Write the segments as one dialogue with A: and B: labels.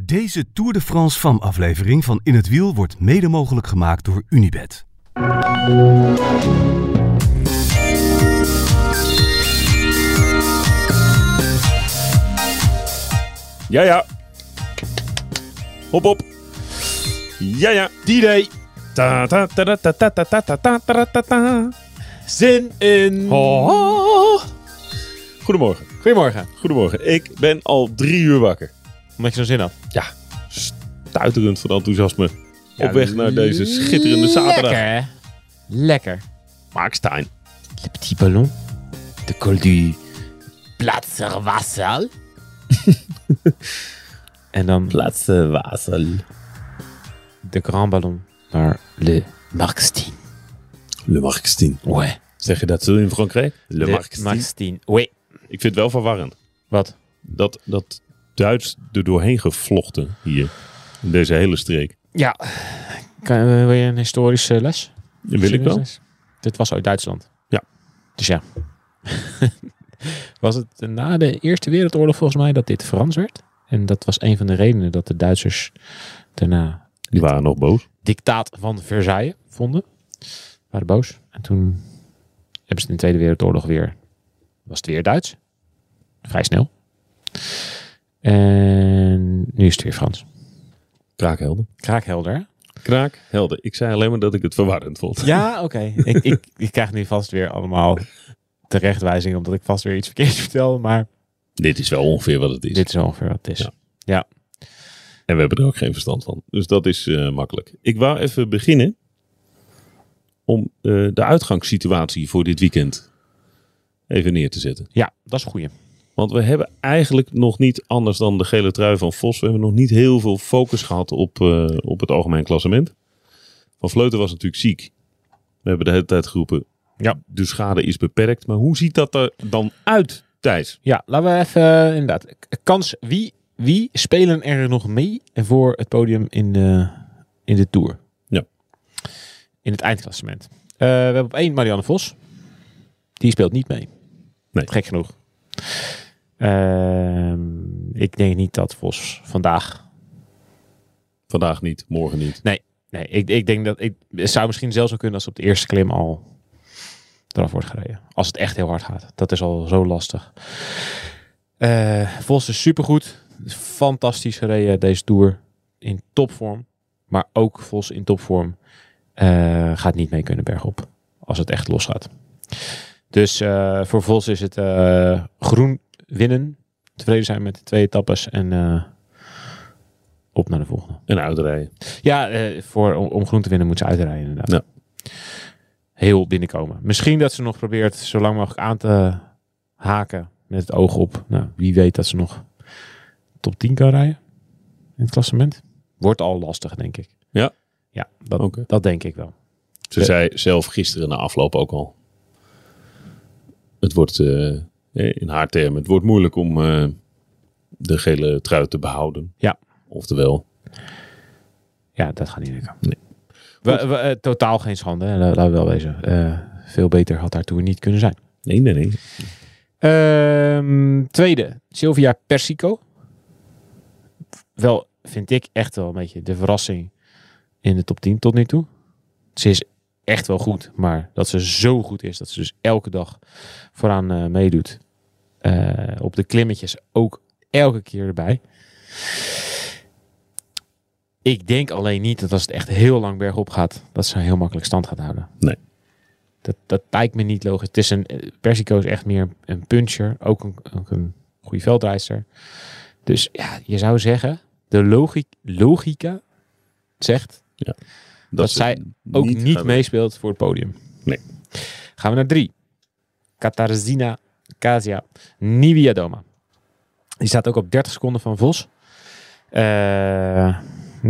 A: Deze Tour de France van aflevering van In het Wiel wordt mede mogelijk gemaakt door Unibed.
B: Ja, ja. Hop, hop. Ja, ja.
C: D-Day.
B: Ta, ta, ta, ta, ta, ta, ta, ta, ta, ta, ta, ta.
C: Zin in.
B: Oh. Goedemorgen.
C: Goedemorgen.
B: Goedemorgen. Ik ben al drie uur wakker.
C: Omdat je zo'n zin had.
B: Ja, stuiterend van enthousiasme. Op weg naar Nou, deze schitterende zaterdag.
C: Lekker. Lekker.
B: Mark Stein.
C: Le petit ballon. De col du Platzerwasser. en dan
B: Platzewasel.
C: de grand ballon naar Le Markstein.
B: Le Markstein.
C: Ouais.
B: Zeg je dat zo in Frankrijk? Le Markstein.
C: Markstein. Ouais.
B: Ik vind het wel verwarrend.
C: Wat?
B: Dat, dat Duits er doorheen gevlochten hier. In deze hele streek.
C: Ja. Kan, eh, wil je een historische les?
B: Wil ik wel.
C: Dit was uit Duitsland.
B: Ja.
C: Dus ja. was het na de Eerste Wereldoorlog volgens mij dat dit Frans werd? En dat was een van de redenen dat de Duitsers daarna
B: Die waren nog boos.
C: dictaat van Versailles vonden. Waren boos. En toen hebben ze in de Tweede Wereldoorlog weer. Was het weer Duits? Vrij snel. En nu is het weer Frans.
B: Kraakhelden.
C: Kraakhelder. hè?
B: Kraak, helder. Ik zei alleen maar dat ik het verwarrend vond.
C: Ja, oké. ik, ik, ik krijg nu vast weer allemaal terechtwijzingen, omdat ik vast weer iets verkeerds vertel. Maar
B: Dit is wel ongeveer wat het is.
C: dit is ongeveer wat het is.
B: Ja. En we hebben er ook geen verstand van. Dus dat is eh, makkelijk. Ik wou even beginnen om eh, de uitgangssituatie voor dit weekend even neer te zetten.
C: Ja, dat is een goeie.
B: Want we hebben eigenlijk nog niet, anders dan de gele trui van Vos, we hebben nog niet heel veel focus gehad op, eh, op het algemeen klassement. Van Vleuten was natuurlijk ziek. We hebben de hele tijd geroepen,
C: Ja.
B: de schade is beperkt. Maar hoe ziet dat er dan uit, Thijs?
C: Ja, laten we even eh, inderdaad. k- Kans, wie, wie spelen er nog mee voor het podium in de, in de Tour?
B: Ja.
C: In het eindklassement. Eh, we hebben op één Marianne Vos. Die speelt niet mee.
B: Nee.
C: Gek genoeg. Ehm, ik denk niet dat Vos vandaag
B: Vandaag niet, morgen niet.
C: Nee, ik, ik denk dat ik, het zou misschien zelfs zo kunnen als op de eerste klim al eraf wordt gereden. Als het echt heel hard gaat. Dat is al zo lastig. Eh Vos is supergoed. Fantastisch gereden deze Tour. In topvorm. Maar ook Vos in topvorm eh, gaat niet mee kunnen bergop. Als het echt losgaat. Dus eh, voor Vos is het eh, groen winnen. Tevreden zijn met de twee etappes. En eh, op naar de volgende.
B: En uitrijden.
C: Ja, eh, voor, om, om groen te winnen moet ze uitrijden inderdaad.
B: Ja.
C: Heel binnenkomen. Misschien dat ze nog probeert zo lang mogelijk aan te haken met het oog op. Nou, wie weet dat ze nog top 10 kan rijden in het klassement. Wordt al lastig, denk ik.
B: Ja?
C: Ja, dat,
B: Oké.
C: dat denk ik wel.
B: Ze
C: Ja.
B: zei zelf gisteren na afloop ook al. Het wordt, eh, in haar termen, het wordt moeilijk om eh, de gele trui te behouden.
C: Ja.
B: Oftewel,
C: Ja, dat gaat niet lukken.
B: Nee.
C: We, we, eh, totaal geen schande, hè. La- laten we wel wezen. Eh, veel beter had haar toer niet kunnen zijn.
B: nee, nee, nee.
C: Ehm, tweede, Sylvia Persico. Wel, vind ik echt wel een beetje de verrassing in de top 10 tot nu toe. Ze is echt wel goed, maar dat ze zo goed is dat ze dus elke dag vooraan eh, meedoet. Eh, op de klimmetjes ook elke keer erbij. Ik denk alleen niet dat als het echt heel lang bergop gaat, dat ze heel makkelijk stand gaat houden.
B: Nee.
C: Dat, dat lijkt me niet logisch. Het is een, eh, Persico is echt meer een puncher. Ook een, ook een goede veldrijster. Dus ja, je zou zeggen, de logi- logica zegt
B: Dat,
C: dat
B: ze
C: zij ook niet,
B: gaat-
C: meespeelt voor het podium.
B: Nee.
C: Gaan we naar drie. Katarzyna Kazia Niwiadoma. Die staat ook op 30 seconden van Vos. Eh, m-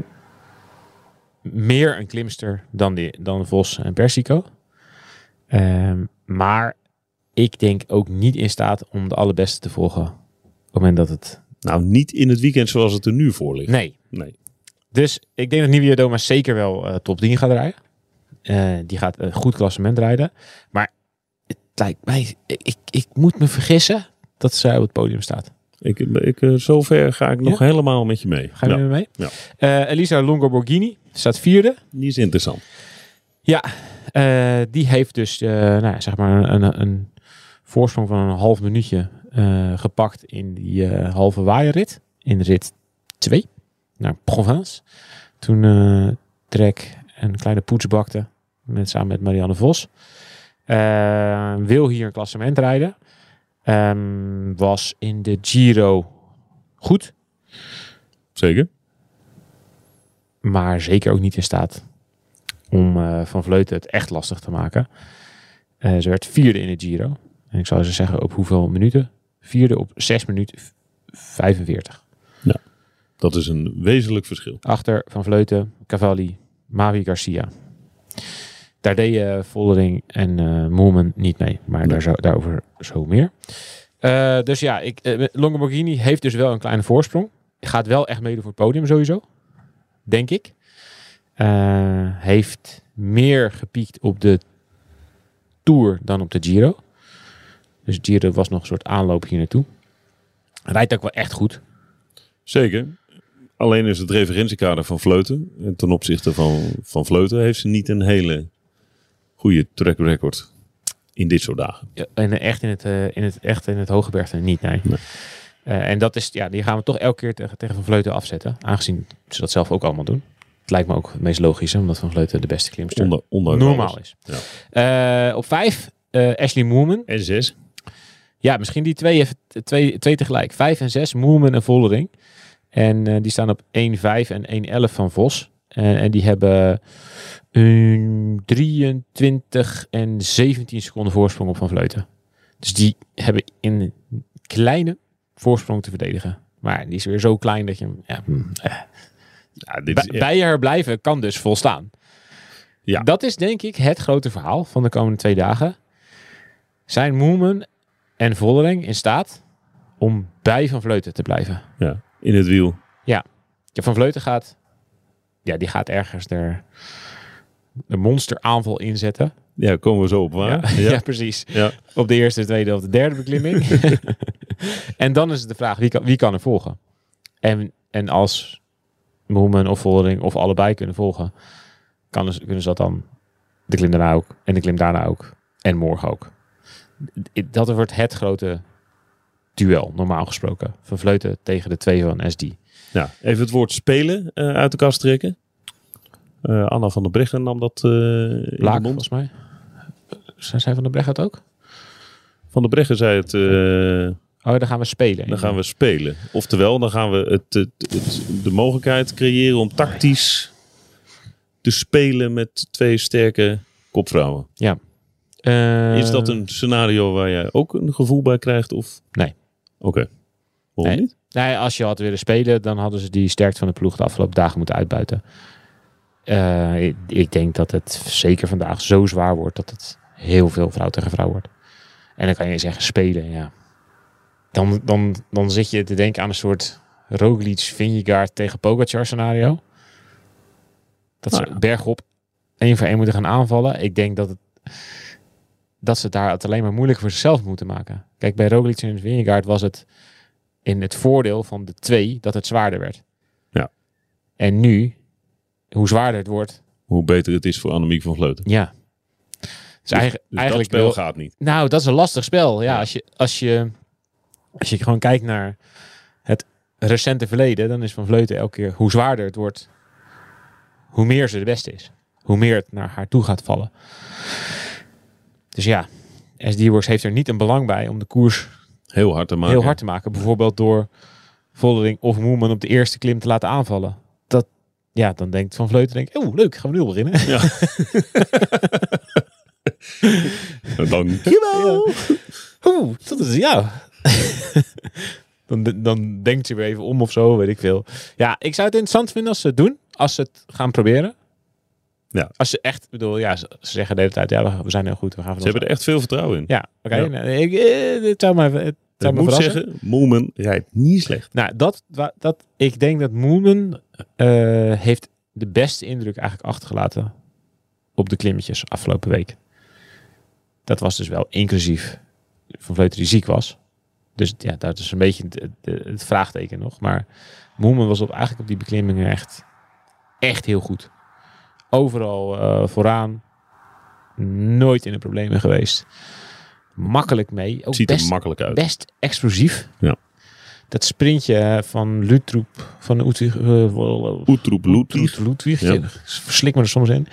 C: meer een klimster dan, die, dan Vos en Persico. Ehm, maar ik denk ook niet in staat om de allerbeste te volgen. Op het moment dat het...
B: Nou, niet in het weekend zoals het er nu voor ligt.
C: Nee,
B: Nee.
C: dus ik denk dat Nivea Doma zeker wel eh, top 10 gaat rijden. Eh, die gaat een goed klassement rijden. Maar het lijkt mij, ik, ik moet me vergissen dat zij op het podium staat.
B: Ik, ik, eh, zover ga ik nog helemaal met je mee. Nou,
C: Gaan
B: Ja,
C: jullie mee?
B: Ja.
C: Eh, Elisa Longo-Borghini staat vierde.
B: die is interessant.
C: Ja, eh, die heeft dus eh, nou ja, zeg maar een, een voorsprong van een half minuutje eh, gepakt in die eh, halve waaierrit. In rit 2 naar Provence. Toen eh Trek een kleine poets bakte met, samen met Marianne Vos. Eh, wil hier een klassement rijden. Ehm, was in de Giro goed,
B: Zeker?
C: maar zeker ook niet in staat om eh, Van Vleuten het echt lastig te maken. Eh, ze werd vierde in de Giro. En ik zou ze zeggen op hoeveel minuten? Vierde op 6 minuten v- 45.
B: Dat is een wezenlijk verschil.
C: Achter Van Vleuten, Cavalli, Mavi Garcia. Daar deden Voldering en eh Moerman niet mee. Maar daar zo, daarover zo meer. Eh, dus ja, ik, eh, Longoborghini heeft dus wel een kleine voorsprong. Gaat wel echt meedoen voor het podium sowieso. Denk ik. Eh, heeft meer gepiekt op de Tour dan op de Giro. Dus Giro was nog een soort aanloop hier naartoe. Rijdt ook wel echt goed.
B: Zeker. Alleen is het referentiekader van Vleuten. En ten opzichte van, van Vleuten heeft ze niet een hele goede track record in dit soort dagen.
C: Ja, en echt in het, eh, in het, echt in het hoge bergte niet, nee.
B: Nee.
C: Eh, en dat is, ja, die gaan we toch elke keer tegen, tegen Van Vleuten afzetten. Aangezien ze dat zelf ook allemaal doen. Het lijkt me ook het meest logische, omdat Van Vleuten de beste klimster
B: Onder, onder
C: normaal is.
B: Ja.
C: Eh, op vijf, eh, Ashley Moerman.
B: En zes.
C: Ja, misschien die twee, even, twee, twee tegelijk. Vijf en zes, Moerman en Vollering. En eh, die staan op 1-5 en 1-11 van Vos. Eh, en die hebben een 23 en 17 seconden voorsprong op Van Vleuten. Dus die hebben in een kleine voorsprong te verdedigen. Maar die is weer zo klein dat je hem... Ja,
B: Hm. Ja, dit
C: bij,
B: is echt-
C: bij haar blijven kan dus volstaan.
B: Ja.
C: Dat is denk ik het grote verhaal van de komende twee dagen. Zijn Moemen en Vollering in staat om bij Van Vleuten te blijven?
B: ja, in het wiel.
C: Ja, van Vleuten gaat... Ja, die gaat ergens er een monsteraanval inzetten.
B: Ja, komen we zo op waar.
C: ja.
B: Ja. Ja.
C: precies. Op de eerste, tweede of de derde beklimming. en dan is het de vraag, wie kan, wie kan er volgen? En, en als Moemen of Voldering of allebei kunnen volgen, kan, ze- kunnen ze dat dan de klim daarna ook en de klim daarna ook en morgen ook. D- Dat wordt het grote duel, normaal gesproken. Van Vleuten tegen de twee van SD.
B: Ja, even het woord spelen eh, uit de kast trekken. Eh, Anna van der Breggen nam dat eh in de
C: Blaak,
B: mond.
C: volgens mij. Zijn zij van de Brecht dat ook?
B: Van der Breggen zei het, eh,
C: Oh, dan gaan we spelen.
B: dan gaan we spelen. Oftewel, dan gaan we het, het- het- de mogelijkheid creëren om tactisch te spelen met twee sterke kopvrouwen.
C: Eh,
B: Is dat een scenario waar jij ook een gevoel bij krijgt? Of?
C: Nee.
B: Oké. Waarom
C: Nee.
B: niet?
C: Nee, als je had willen spelen, dan hadden ze die sterkte van de ploeg de afgelopen dagen moeten uitbuiten. Eh, ik, ik denk dat het zeker vandaag zo zwaar wordt dat het heel veel vrouw tegen vrouw wordt. En dan kan je zeggen spelen, ja. Dan, dan, dan zit je te denken aan een soort Roglic, Vingegaard tegen Pogacar scenario. Dat ze
B: Nou ja.
C: bergop één voor één moeten gaan aanvallen. Ik denk dat, het, dat ze daar het alleen maar moeilijk voor zichzelf moeten maken. Kijk, bij Roglic en Vingegaard was het in het voordeel van de twee dat het zwaarder werd.
B: Ja.
C: En nu, hoe zwaarder het wordt,
B: Hoe beter het is voor Annemiek van Vleuten.
C: ja. Dus, eigenlijk,
B: Dus
C: eigenlijk
B: dat spel
C: wil-
B: gaat niet.
C: nou, dat is een lastig spel. Ja,
B: Ja.
C: Als, je, als, je, als je gewoon kijkt naar het recente verleden, dan is Van Vleuten elke keer hoe zwaarder het wordt, hoe meer ze de beste is. Hoe meer het naar haar toe gaat vallen. Dus ja, SD-Works heeft er niet een belang bij om de koers
B: Heel hard te maken.
C: heel hard te maken. Bijvoorbeeld door Voldering of Moerman op de eerste klim te laten aanvallen. Dat, ja, dan denkt Van Vleuten, denkt, oh leuk, gaan we nu al beginnen.
B: Dank
C: Jawel! Oeh, dat is ja. dan, de- dan denkt ze weer even om of zo, weet ik veel. Ja, ik zou het interessant vinden als ze het doen. Als ze het gaan proberen.
B: Ja.
C: Als ze echt, ik bedoel, ja, ze, ze zeggen de hele tijd, ja, we- we zijn heel goed, we gaan
B: Ze
C: vanaf.
B: hebben er echt veel vertrouwen in.
C: Ja, oké.
B: Ja.
C: nou, ik, eh, het zou maar, het zou
B: ik
C: maar
B: moet
C: verrassen.
B: zeggen, Moemen rijdt niet slecht.
C: Nou, dat, wa- dat, ik denk dat Moemen eh, heeft de beste indruk eigenlijk achtergelaten op de klimmetjes afgelopen week. Dat was dus wel inclusief van Vleuten die ziek was. Dus ja, dat is een beetje het, het- het vraagteken nog. Maar Moeman was op, eigenlijk op die beklimmingen echt, echt heel goed. Overal eh, vooraan. Nooit in de problemen geweest. Makkelijk mee. Ook
B: Ziet
C: best,
B: er makkelijk uit.
C: best explosief.
B: Ja.
C: Dat sprintje van Lutroep, van Utrecht, eh,
B: Oetroep Ludwig.
C: Ludwig. Ludwig.
B: Ja.
C: Ja. Verslik me er soms in.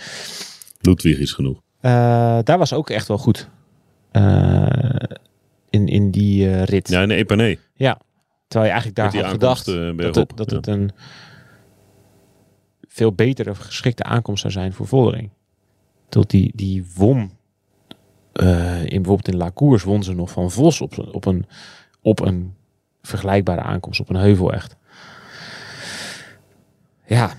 B: Ludwig is genoeg.
C: Eh, daar was ook echt wel goed. Eh, in, in die eh, rit. Ja.
B: Ja, in de Epanay.
C: Terwijl je eigenlijk daar
B: Met die
C: had gedacht
B: aankomst, eh,
C: dat,
B: bergop.
C: het, dat
B: Ja.
C: het een veel betere geschikte aankomst zou zijn voor Voldering. Tot die, die won. eh, in, bijvoorbeeld in La Cours won ze nog van Vos op, een- op, een, op een vergelijkbare aankomst. Op een heuvel echt. Ja.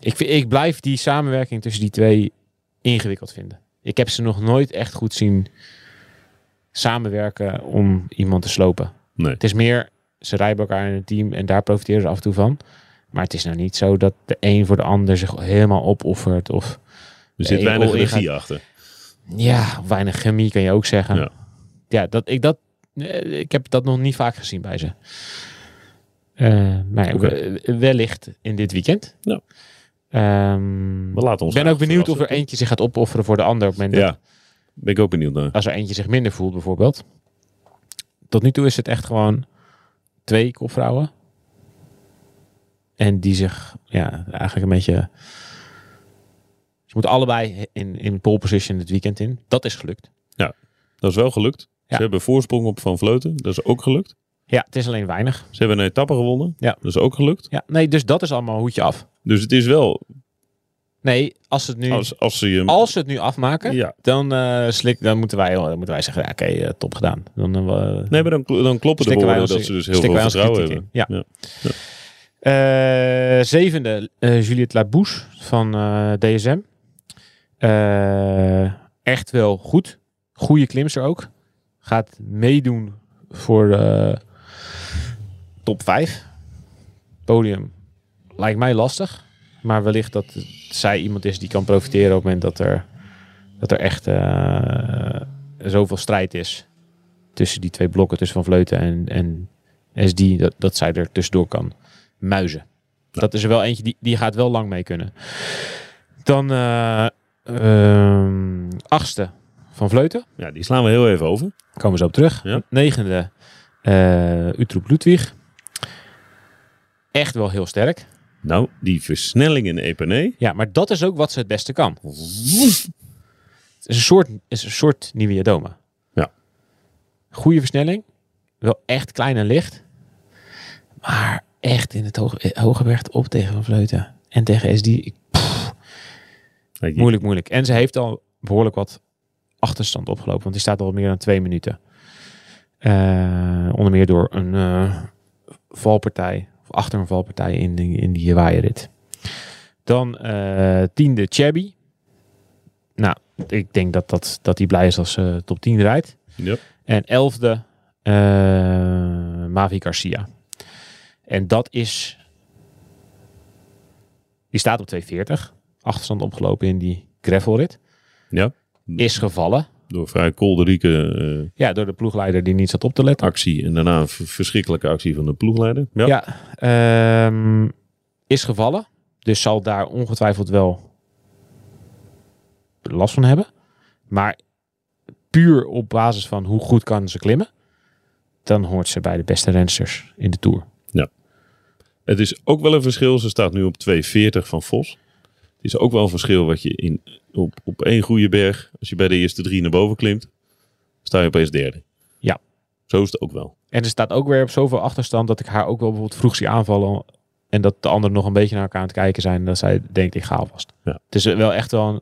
C: Ik, vind- ik blijf die samenwerking tussen die twee ingewikkeld vinden. Ik heb ze nog nooit echt goed zien samenwerken om iemand te slopen.
B: Nee.
C: Het is meer, ze rijden bij elkaar in een team en daar profiteren ze af en toe van. Maar het is nou niet zo dat de een voor de ander zich helemaal opoffert. Of
B: Er zit
C: Nee, oh,
B: weinig
C: Olga-
B: regie achter.
C: ja, weinig chemie kan je ook zeggen.
B: Ja.
C: Ja, dat, ik, dat, eh, ik heb dat nog niet vaak gezien bij ze. Eh, maar ja,
B: Oké.
C: we- wellicht in dit weekend.
B: Ja.
C: Ehm,
B: We laten
C: ik
B: ons
C: ben
B: graag
C: ook benieuwd of er
B: verrassen.
C: eentje zich gaat opofferen voor de ander. Op het moment dat-
B: Ja, ben ik ook benieuwd naar.
C: als er eentje zich minder voelt bijvoorbeeld. Tot nu toe is het echt gewoon twee kopvrouwen. En die zich ja, eigenlijk een beetje... Ze moeten allebei in, in pole position dit weekend in. Dat is gelukt.
B: Dat is wel gelukt.
C: Ja.
B: Ze hebben voorsprong op Van Vleuten. Dat is ook gelukt.
C: Ja, het is alleen weinig.
B: Ze hebben een etappe gewonnen.
C: Ja.
B: Dat is ook gelukt.
C: Ja, nee, dus dat is allemaal hoedje af.
B: Dus het is wel,
C: Nee, als ze het nu, als,
B: als, als ze je...
C: ze het nu afmaken,
B: Ja.
C: dan, eh, slik, dan, moeten wij, dan moeten wij zeggen, ja, oké, eh, top gedaan. Dan, eh, we-
B: Nee, maar dan, kl- dan kloppen de
C: Stikken wij
B: woorden
C: ons-
B: dat ze dus heel
C: stikken
B: veel
C: wij ons
B: vertrouwen
C: kritiek
B: hebben.
C: in. Ja. Eh, zevende, eh, Juliette Labouche van eh, DSM. Eh, echt wel goed. Goede klimster ook. Gaat meedoen voor de top 5. Podium lijkt mij lastig. Maar wellicht dat zij iemand is die kan profiteren op het moment dat er, dat er echt eh, zoveel strijd is. Tussen die twee blokken, tussen Van Vleuten en, en SD, dat, dat zij er tussendoor kan muizen. Dat is er wel eentje, die, die gaat wel lang mee kunnen. Dan eh, ehm, achtste van Vleuten.
B: Ja, die slaan we heel even over.
C: Komen we zo op terug.
B: Ja.
C: Negende eh Utroep Ludwig. Echt wel heel sterk.
B: Nou, die versnelling in E Epanay.
C: Ja, maar dat is ook wat ze het beste kan. Het is een soort, is een soort nieuwe Jadoma.
B: Ja.
C: Goede versnelling. Wel echt klein en licht. Maar echt in het hoge, hoge werd op tegen Van Vleuten. En tegen SD. Ik Moeilijk, moeilijk. En ze heeft al behoorlijk wat achterstand opgelopen. Want die staat al meer dan twee minuten. Eh, onder meer door een eh, valpartij. Of achter een valpartij in die, in die waaierrit. Dan eh, tiende Chabby. Nou, ik denk dat, dat, dat die blij is als ze eh, top 10 rijdt.
B: Ja.
C: En elfde, eh, Mavi Garcia. En dat is... Die staat op 240. Achterstand opgelopen in die gravelrit.
B: ja.
C: Is gevallen.
B: Door vrij kolderieke eh,
C: Ja, door de ploegleider die niet zat op te letten.
B: actie en daarna een v- verschrikkelijke actie van de ploegleider. Ja.
C: Ja, ehm, is gevallen. Dus zal daar ongetwijfeld wel last van hebben. Maar puur op basis van hoe goed kan ze klimmen, dan hoort ze bij de beste rensters in de Tour.
B: Het is ook wel een verschil. Ze staat nu op 240 van Vos. Het is ook wel een verschil wat je in, op, op één goede berg, als je bij de eerste drie naar boven klimt, sta je opeens derde.
C: Ja.
B: Zo is het ook wel.
C: En ze staat ook weer op zoveel achterstand dat ik haar ook wel bijvoorbeeld vroeg zie aanvallen. En dat de anderen nog een beetje naar elkaar aan het kijken zijn. En dat zij denkt, ik ga alvast.
B: Ja.
C: Het is wel echt wel een,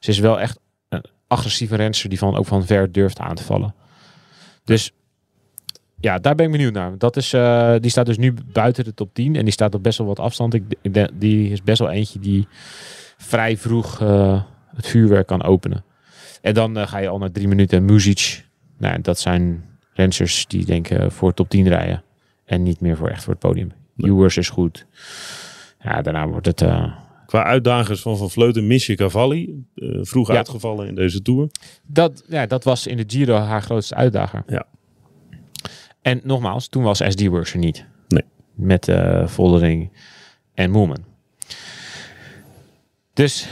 C: ze is wel echt een agressieve renster die van, ook van ver durft aan te vallen. Dus ja, daar ben ik benieuwd naar. Dat is, eh, die staat dus nu buiten de top 10. En die staat op best wel wat afstand. Ik, ik denk- die is best wel eentje die vrij vroeg eh, het vuurwerk kan openen. En dan eh, ga je al naar drie minuten. Muzic, nou, dat zijn Rensers die denken voor top 10 rijden. En niet meer voor echt voor het podium.
B: Nee.
C: Ewers is goed. Ja, daarna wordt het... eh,
B: Qua uitdagers van Van Vleuten mis je Cavalli. eh, vroeg
C: Ja.
B: uitgevallen in deze Tour.
C: dat, ja, dat was in de Giro haar grootste uitdager.
B: Ja.
C: En nogmaals, toen was SD Works er niet.
B: Nee.
C: Met eh Voldering en Moeman. Dus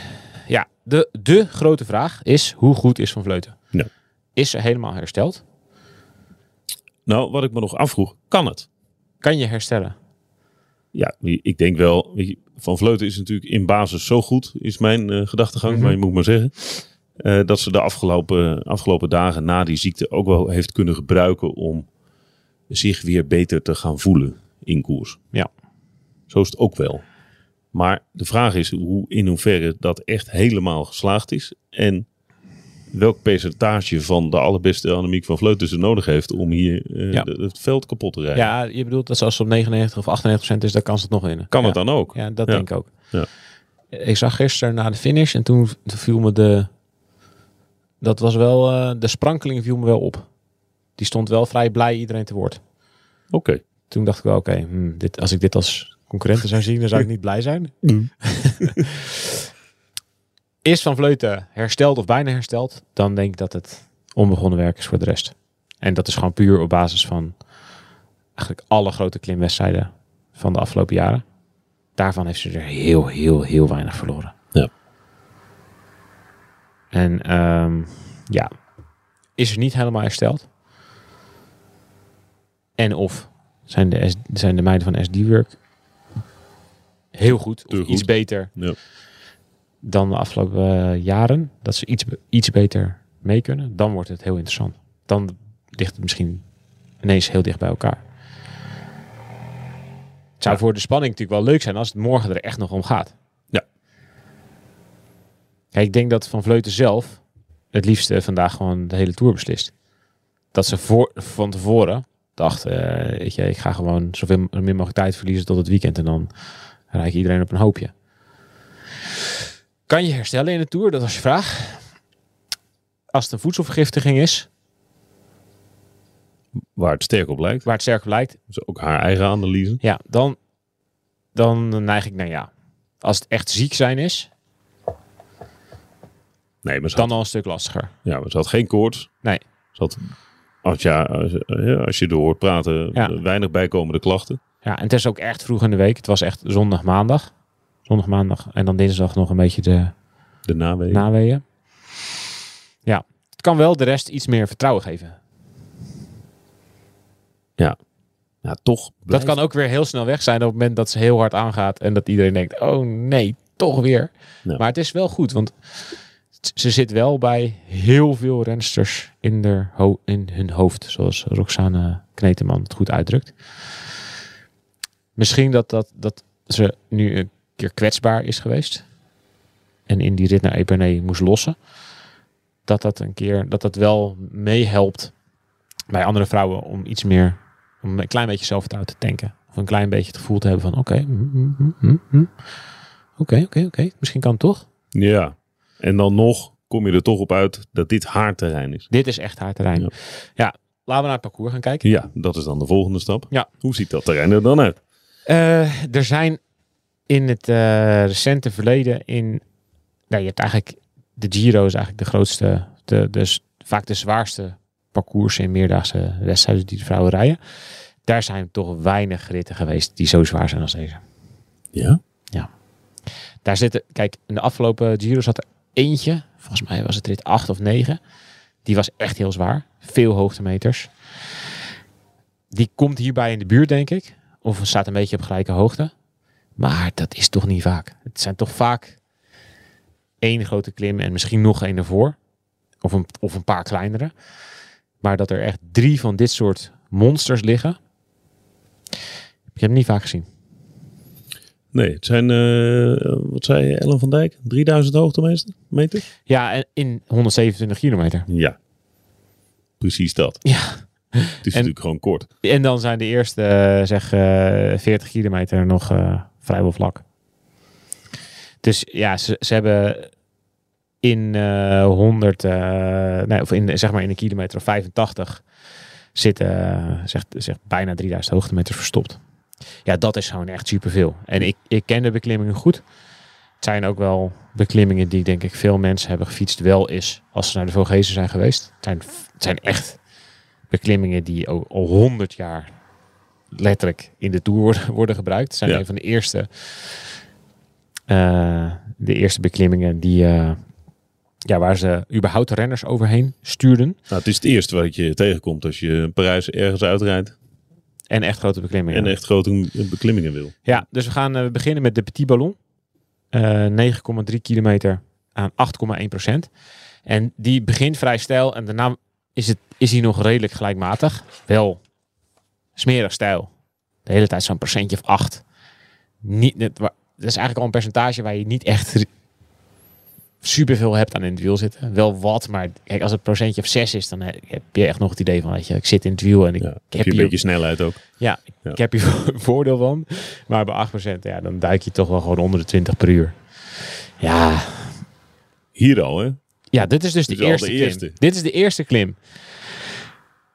C: ja, de, de grote vraag is hoe goed is Van Vleuten?
B: Ja.
C: Is ze helemaal hersteld?
B: Nou, wat ik me nog afvroeg, kan het?
C: Kan je herstellen?
B: Ja, ik denk wel. weet je, Van Vleuten is natuurlijk in basis zo goed, is mijn eh, gedachtegang,
C: Mhm.
B: maar je moet maar zeggen. eh, dat ze de afgelopen, afgelopen dagen na die ziekte ook wel heeft kunnen gebruiken om zich weer beter te gaan voelen in koers.
C: Ja.
B: Zo is het ook wel. Maar de vraag is hoe, in hoeverre dat echt helemaal geslaagd is. En welk percentage van de allerbeste Annemiek van Vleuten ze nodig heeft om hier eh,
C: Ja.
B: de- het veld kapot te rijden.
C: Ja, je bedoelt dat ze als ze op 99 of 98 procent is, dan kan ze het nog winnen.
B: Kan
C: ja.
B: het dan ook?
C: Ja, dat
B: Ja.
C: denk ik ook.
B: Ja.
C: Ik zag gisteren na de finish en toen v- toen viel me de... Dat was wel... eh, de sprankeling viel me wel op. Die stond wel vrij blij iedereen te woord.
B: Oké.
C: Toen dacht ik wel, oké, hmm, dit als ik dit als concurrenten zou zien, dan zou ik niet blij zijn. Is Van Vleuten hersteld of bijna hersteld, dan denk ik dat het onbegonnen werk is voor de rest. En dat is gewoon puur op basis van eigenlijk alle grote klimwedstrijden van de afgelopen jaren. Daarvan heeft ze er heel, heel, heel weinig verloren.
B: Ja.
C: En ehm, ja, is er niet helemaal hersteld. En of zijn de, S- zijn de meiden van SD-Work heel goed,
B: Te
C: of iets
B: goed.
C: beter
B: Ja.
C: dan de afgelopen eh, jaren. Dat ze iets, be- iets beter mee kunnen. Dan wordt het heel interessant. Dan ligt het misschien ineens heel dicht bij elkaar. Het zou voor de spanning natuurlijk wel leuk zijn als het morgen er echt nog om gaat.
B: Ja.
C: Kijk, ik denk dat Van Vleuten zelf het liefste vandaag gewoon de hele Tour beslist. Dat ze voor, van tevoren dacht, eh, weet je, ik ga gewoon zoveel m- min mogelijk tijd verliezen tot het weekend. En dan raak ik iedereen op een hoopje. Kan je herstellen in de Tour? Dat was je vraag. Als het een voedselvergiftiging is,
B: Waar het sterk op lijkt.
C: waar het sterk op lijkt,
B: Dus ook haar eigen analyse.
C: Ja, dan, dan neig ik naar ja. Als het echt ziek zijn is,
B: Nee, maar ze,
C: dan al een stuk lastiger.
B: had, ja, maar ze had geen koorts.
C: Nee.
B: Ze had, als, ja, als, ja, als je door hoort praten,
C: Ja.
B: weinig bijkomende klachten.
C: Ja, en het is ook echt vroeg in de week. Het was echt zondag, maandag. Zondag, maandag en dan dinsdag nog een beetje de
B: De naweeën.
C: naweeën. Ja, het kan wel de rest iets meer vertrouwen geven.
B: ja, toch.
C: Dat kan ook weer heel snel weg zijn op het moment dat ze heel hard aangaat en dat iedereen denkt, oh nee, toch weer.
B: Ja.
C: Maar het is wel goed, want t- ze zit wel bij heel veel rensters in, der ho- in hun hoofd, zoals Roxane Kneteman het goed uitdrukt. Misschien dat, dat, dat ze nu een keer kwetsbaar is geweest en in die rit naar Epernay moest lossen. Dat dat een keer, dat dat wel meehelpt bij andere vrouwen om iets meer om een klein beetje zelfvertrouwen te tanken. Of een klein beetje het gevoel te hebben van oké, mm, mm, mm, mm, mm. oké, oké, oké. Misschien kan het toch?
B: Ja. En dan nog kom je er toch op uit dat dit haar terrein is.
C: Dit is echt haar terrein.
B: Ja.
C: Ja. laten we naar het parcours gaan kijken.
B: Ja, dat is dan de volgende stap.
C: Ja.
B: Hoe ziet dat terrein er dan uit?
C: Eh, er zijn in het eh, recente verleden in... Nou, je hebt eigenlijk... De Giro is eigenlijk de grootste... De, dus vaak de zwaarste parcoursen in meerdaagse wedstrijden die de vrouwen rijden. Daar zijn toch weinig ritten geweest die zo zwaar zijn als deze.
B: Ja.
C: Daar zitten, kijk, in de afgelopen Giro zat er eentje. Volgens mij was het rit 8 of 9. Die was echt heel zwaar. Veel hoogtemeters. Die komt hierbij in de buurt, denk ik. Of staat een beetje op gelijke hoogte. Maar dat is toch niet vaak. Het zijn toch vaak één grote klim en misschien nog één ervoor. Of een, of een paar kleinere. Maar dat er echt drie van dit soort monsters liggen. Ik heb het niet vaak gezien.
B: Nee, het zijn, eh, wat zei je, Ellen van Dijk? 3000 hoogtemeter? Meter?
C: Ja, en in 127 kilometer.
B: Ja. Precies dat.
C: Ja.
B: Het is natuurlijk gewoon kort.
C: En dan zijn de eerste, eh, zeg, eh 40 kilometer nog eh, vrijwel vlak. Dus ja, ze, ze hebben in eh 100, eh, nee, of in, zeg maar in een kilometer of 85 zitten eh, zeg, zeg, bijna 3000 hoogtemeters verstopt. Ja, dat is gewoon echt superveel. En ik, ik ken de beklimmingen goed. Het zijn ook wel beklimmingen die denk ik veel mensen hebben gefietst wel is als ze naar de Vogezen zijn geweest. Het zijn, het zijn echt beklimmingen die al, al 100 jaar letterlijk in de Tour worden, worden gebruikt. Zijn
B: Ja.
C: een van de eerste, eh, de eerste beklimmingen die, eh, ja, waar ze überhaupt renners overheen stuurden.
B: Nou, het is het eerste wat je tegenkomt als je in Parijs ergens uitrijdt
C: En echt grote beklimmingen.
B: en echt grote beklimmingen wil.
C: Ja, dus we gaan eh, beginnen met de Petit Ballon. Eh, 9,3 kilometer aan 8,1 procent. En die begint vrij stijl en daarna is, het, is hij nog redelijk gelijkmatig. Wel smerig stijl. De hele tijd zo'n procentje of 8. Niet, net wa- dat is eigenlijk al een percentage waar je niet echt r- superveel hebt aan in het wiel zitten. Wel wat, maar kijk, als het procentje of 6 is, dan he- heb je echt nog het idee van, weet je, ik zit in het wiel en ik
B: Ja, heb
C: heb
B: je een
C: hier
B: beetje snelheid ook.
C: ja, ik-
B: Ja.
C: ik heb hier vo- voordeel van. Maar bij 8%, ja, dan duik je toch wel gewoon onder de 20 per uur. Ja,
B: Hier al, hè?
C: ja dit is dus
B: Dit
C: de,
B: is al
C: eerste,
B: de
C: klim.
B: eerste.
C: Dit is de eerste klim.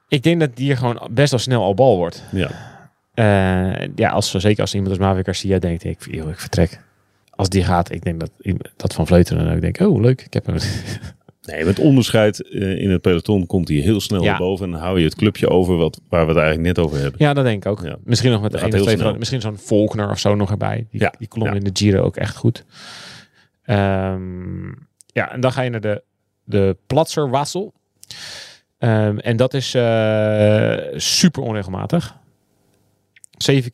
C: Ik denk dat die hier gewoon best wel snel al bal wordt.
B: Ja.
C: Eh, ja, als, zeker als iemand als Mavic Garcia denkt, ik, joh, ik vertrek. Als die gaat, ik denk dat, dat Van Vleuten dan ook denkt, oh leuk, ik heb hem.
B: Nee, met onderscheid eh, in het peloton komt hij heel snel
C: Ja.
B: naar boven en dan hou je het clubje over wat, waar we het eigenlijk net over hebben.
C: Ja, dat denk ik ook.
B: Ja.
C: Misschien nog met de
B: Dat gaat
C: ene of
B: heel
C: twee
B: snel.
C: veranderingen. Misschien zo'n Volkner of zo nog erbij. Die,
B: Ja,
C: die klom
B: ja.
C: in de Giro ook echt goed. Ehm, ja, en dan ga je naar de, de Platzerwassel. Ehm, en dat is eh, super onregelmatig. 7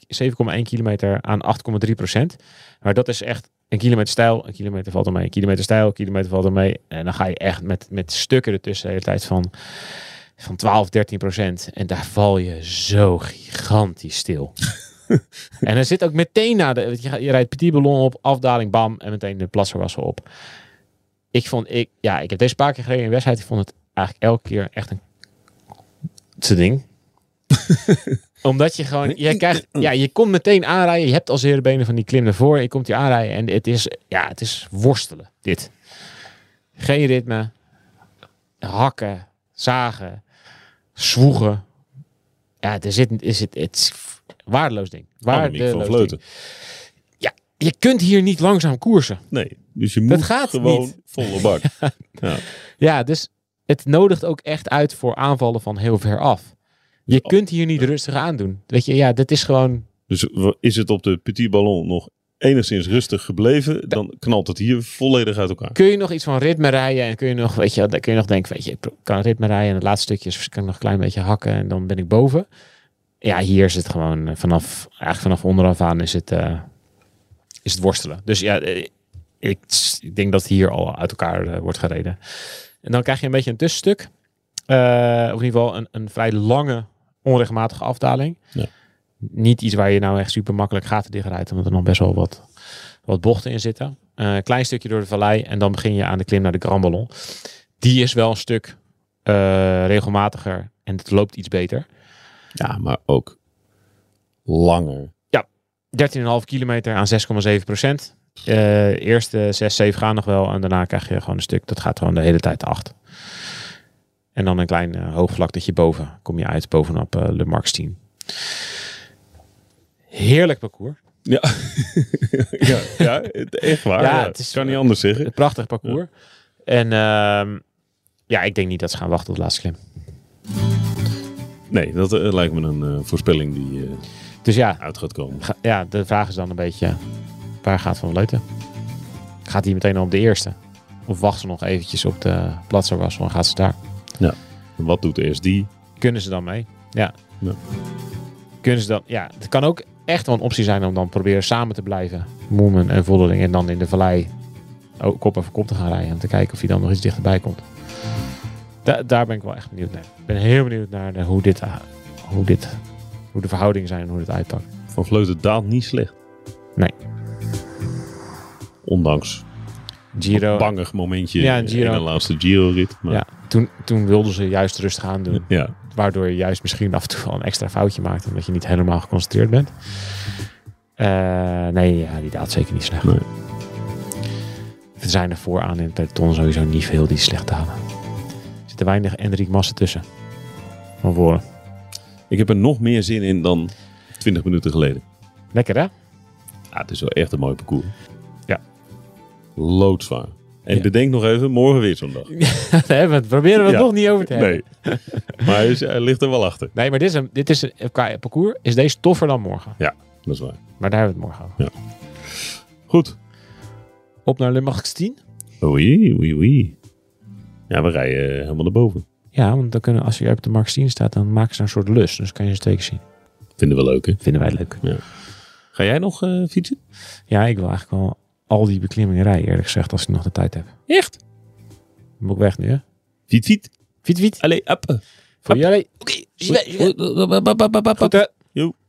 C: 7,1 kilometer aan 8,3 procent. Maar dat is echt een kilometer stijl, een kilometer valt er mee, een kilometer stijl, een kilometer valt er mee. En dan ga je echt met, met stukken ertussen de hele tijd van, van 12, 13 procent. En daar val je zo gigantisch stil. en er zit ook meteen na de, want je, gaat- je rijdt petit ballon op, afdaling, bam, en meteen de plasserwassen op. Ik vond, ik, ja, ik heb deze paar keer gereden in wedstrijd, ik vond het eigenlijk elke keer echt een te ding. Omdat je gewoon, je krijgt, ja, je komt meteen aanrijden. Je hebt al zere benen van die klim naar voren. Je komt die aanrijden en het is, ja, het is worstelen, dit. Geen ritme. Hakken, zagen, zwoegen. Ja, er zit, er zit, het is waardeloos ding.
B: Annemiek
C: Waardeloos
B: van
C: ding.
B: Vleuten.
C: Je kunt hier niet langzaam koersen.
B: Nee, dus je moet
C: gaat
B: gewoon
C: niet.
B: volle bak.
C: Ja, dus het nodigt ook echt uit voor aanvallen van heel ver af. Je kunt hier niet rustig aandoen. Weet je, ja, dit is gewoon...
B: Dus w- is het op de Petit Ballon nog enigszins rustig gebleven, dan knalt het hier volledig uit elkaar.
C: Kun je nog iets van ritme rijden en kun je nog, weet je, dan kun je nog denken, weet je, ik kan ritme rijden en het laatste stukje is- kan ik nog een klein beetje hakken en dan ben ik boven. Ja, hier is het gewoon eh, vanaf, eigenlijk vanaf onderaf aan is het, eh, is het worstelen. Dus ja, eh, ik, ik denk dat hier al uit elkaar eh, wordt gereden. En dan krijg je een beetje een tussenstuk. Eh, of in ieder geval een, een vrij lange, onregelmatige afdaling.
B: Ja.
C: Niet iets waar je nou echt super makkelijk gaten dichtrijdt, omdat er nog best wel wat, wat bochten in zitten. Eh, Een klein stukje door de vallei en dan begin je aan de klim naar de Grand Ballon. Die is wel een stuk eh, regelmatiger en het loopt iets beter.
B: Ja, maar ook langer.
C: 13,5 kilometer aan 6,7 procent. Eh, eerste 6, 7 gaan nog wel. En daarna krijg je gewoon een stuk. Dat gaat gewoon de hele tijd de 8. En dan een klein eh, hoogvlaktetje boven. Kom je uit bovenop eh, Le Marx 10. Heerlijk parcours.
B: Ja, ja, ja het- echt waar.
C: Ja,
B: Ja,
C: het is-
B: kan niet anders zeggen.
C: Een prachtig parcours. En ehm, ja, ik denk niet dat ze gaan wachten tot de laatste klim.
B: Nee, dat eh, lijkt me een eh, voorspelling die eh,
C: Dus ja,
B: uit gaat komen.
C: ga- ja, de vraag is dan een beetje... Waar gaat Van Vleuten? Gaat hij meteen al op de eerste? Of wacht ze nog eventjes op de Platzerwassel en gaat ze daar?
B: Wat doet de SD?
C: kunnen ze dan mee? Ja.
B: Ja.
C: Kunnen ze dan? Ja, het kan ook echt wel een optie zijn om dan proberen samen te blijven. Moemen en Vollering en dan in de vallei ook kop over kop te gaan rijden. Om te kijken of hij dan nog iets dichterbij komt. Da- daar ben ik wel echt benieuwd naar. Ik ben heel benieuwd naar de- hoe, dit, eh, hoe, dit, hoe de verhoudingen zijn en hoe dit uitpakt.
B: Van Vleuten daalt niet slecht.
C: Nee.
B: Ondanks
C: Giro.
B: een bangig momentje
C: Ja,
B: in de
C: Giro.
B: laatste Giro-rit. Maar
C: Ja, toen, toen wilden ze juist rustig aandoen.
B: ja,
C: Waardoor je juist misschien af en toe wel een extra foutje maakt. Omdat je niet helemaal geconcentreerd bent. Eh, nee, ja, die daalt zeker niet slecht.
B: Nee.
C: Er zijn er vooraan in het peloton sowieso niet veel die slecht dalen. Er zitten weinig Enric Massa tussen. Van voren.
B: Ik heb er nog meer zin in dan 20 minuten geleden.
C: Lekker hè?
B: Ah, het is wel echt een mooi parcours.
C: Ja.
B: Loodzwaar. En
C: Ja.
B: bedenk nog even, morgen weer zo'n dag.
C: nee, we proberen we het
B: Ja.
C: nog niet over te hebben.
B: Nee. maar hij, is- hij ligt er wel achter.
C: Nee, maar dit is, een, dit is een, qua parcours is deze toffer dan morgen.
B: Ja, dat is waar.
C: Maar daar hebben we het morgen over.
B: Goed.
C: Op naar Limburg 10.
B: Oei, oei, oei. Ja, we rijden eh, helemaal naar boven.
C: Ja, want dan kunnen, als je op de Mark 10 staat, dan maken ze daar een soort lus. Dus kan je ze teken zien.
B: Vinden we leuk, hè?
C: Vinden wij leuk.
B: Ga jij nog eh, fietsen?
C: Ja, ik wil eigenlijk wel al die beklimmingen rijden, eerlijk gezegd, als ik nog de tijd heb.
B: Echt?
C: Dan moet ik weg nu, hè?
B: Fiet, fiet.
C: Fiet, fiet.
B: Allee, appen.
C: Voor jullie.
B: Oké. Goed, hè?
C: Goed, hè?
B: Jo.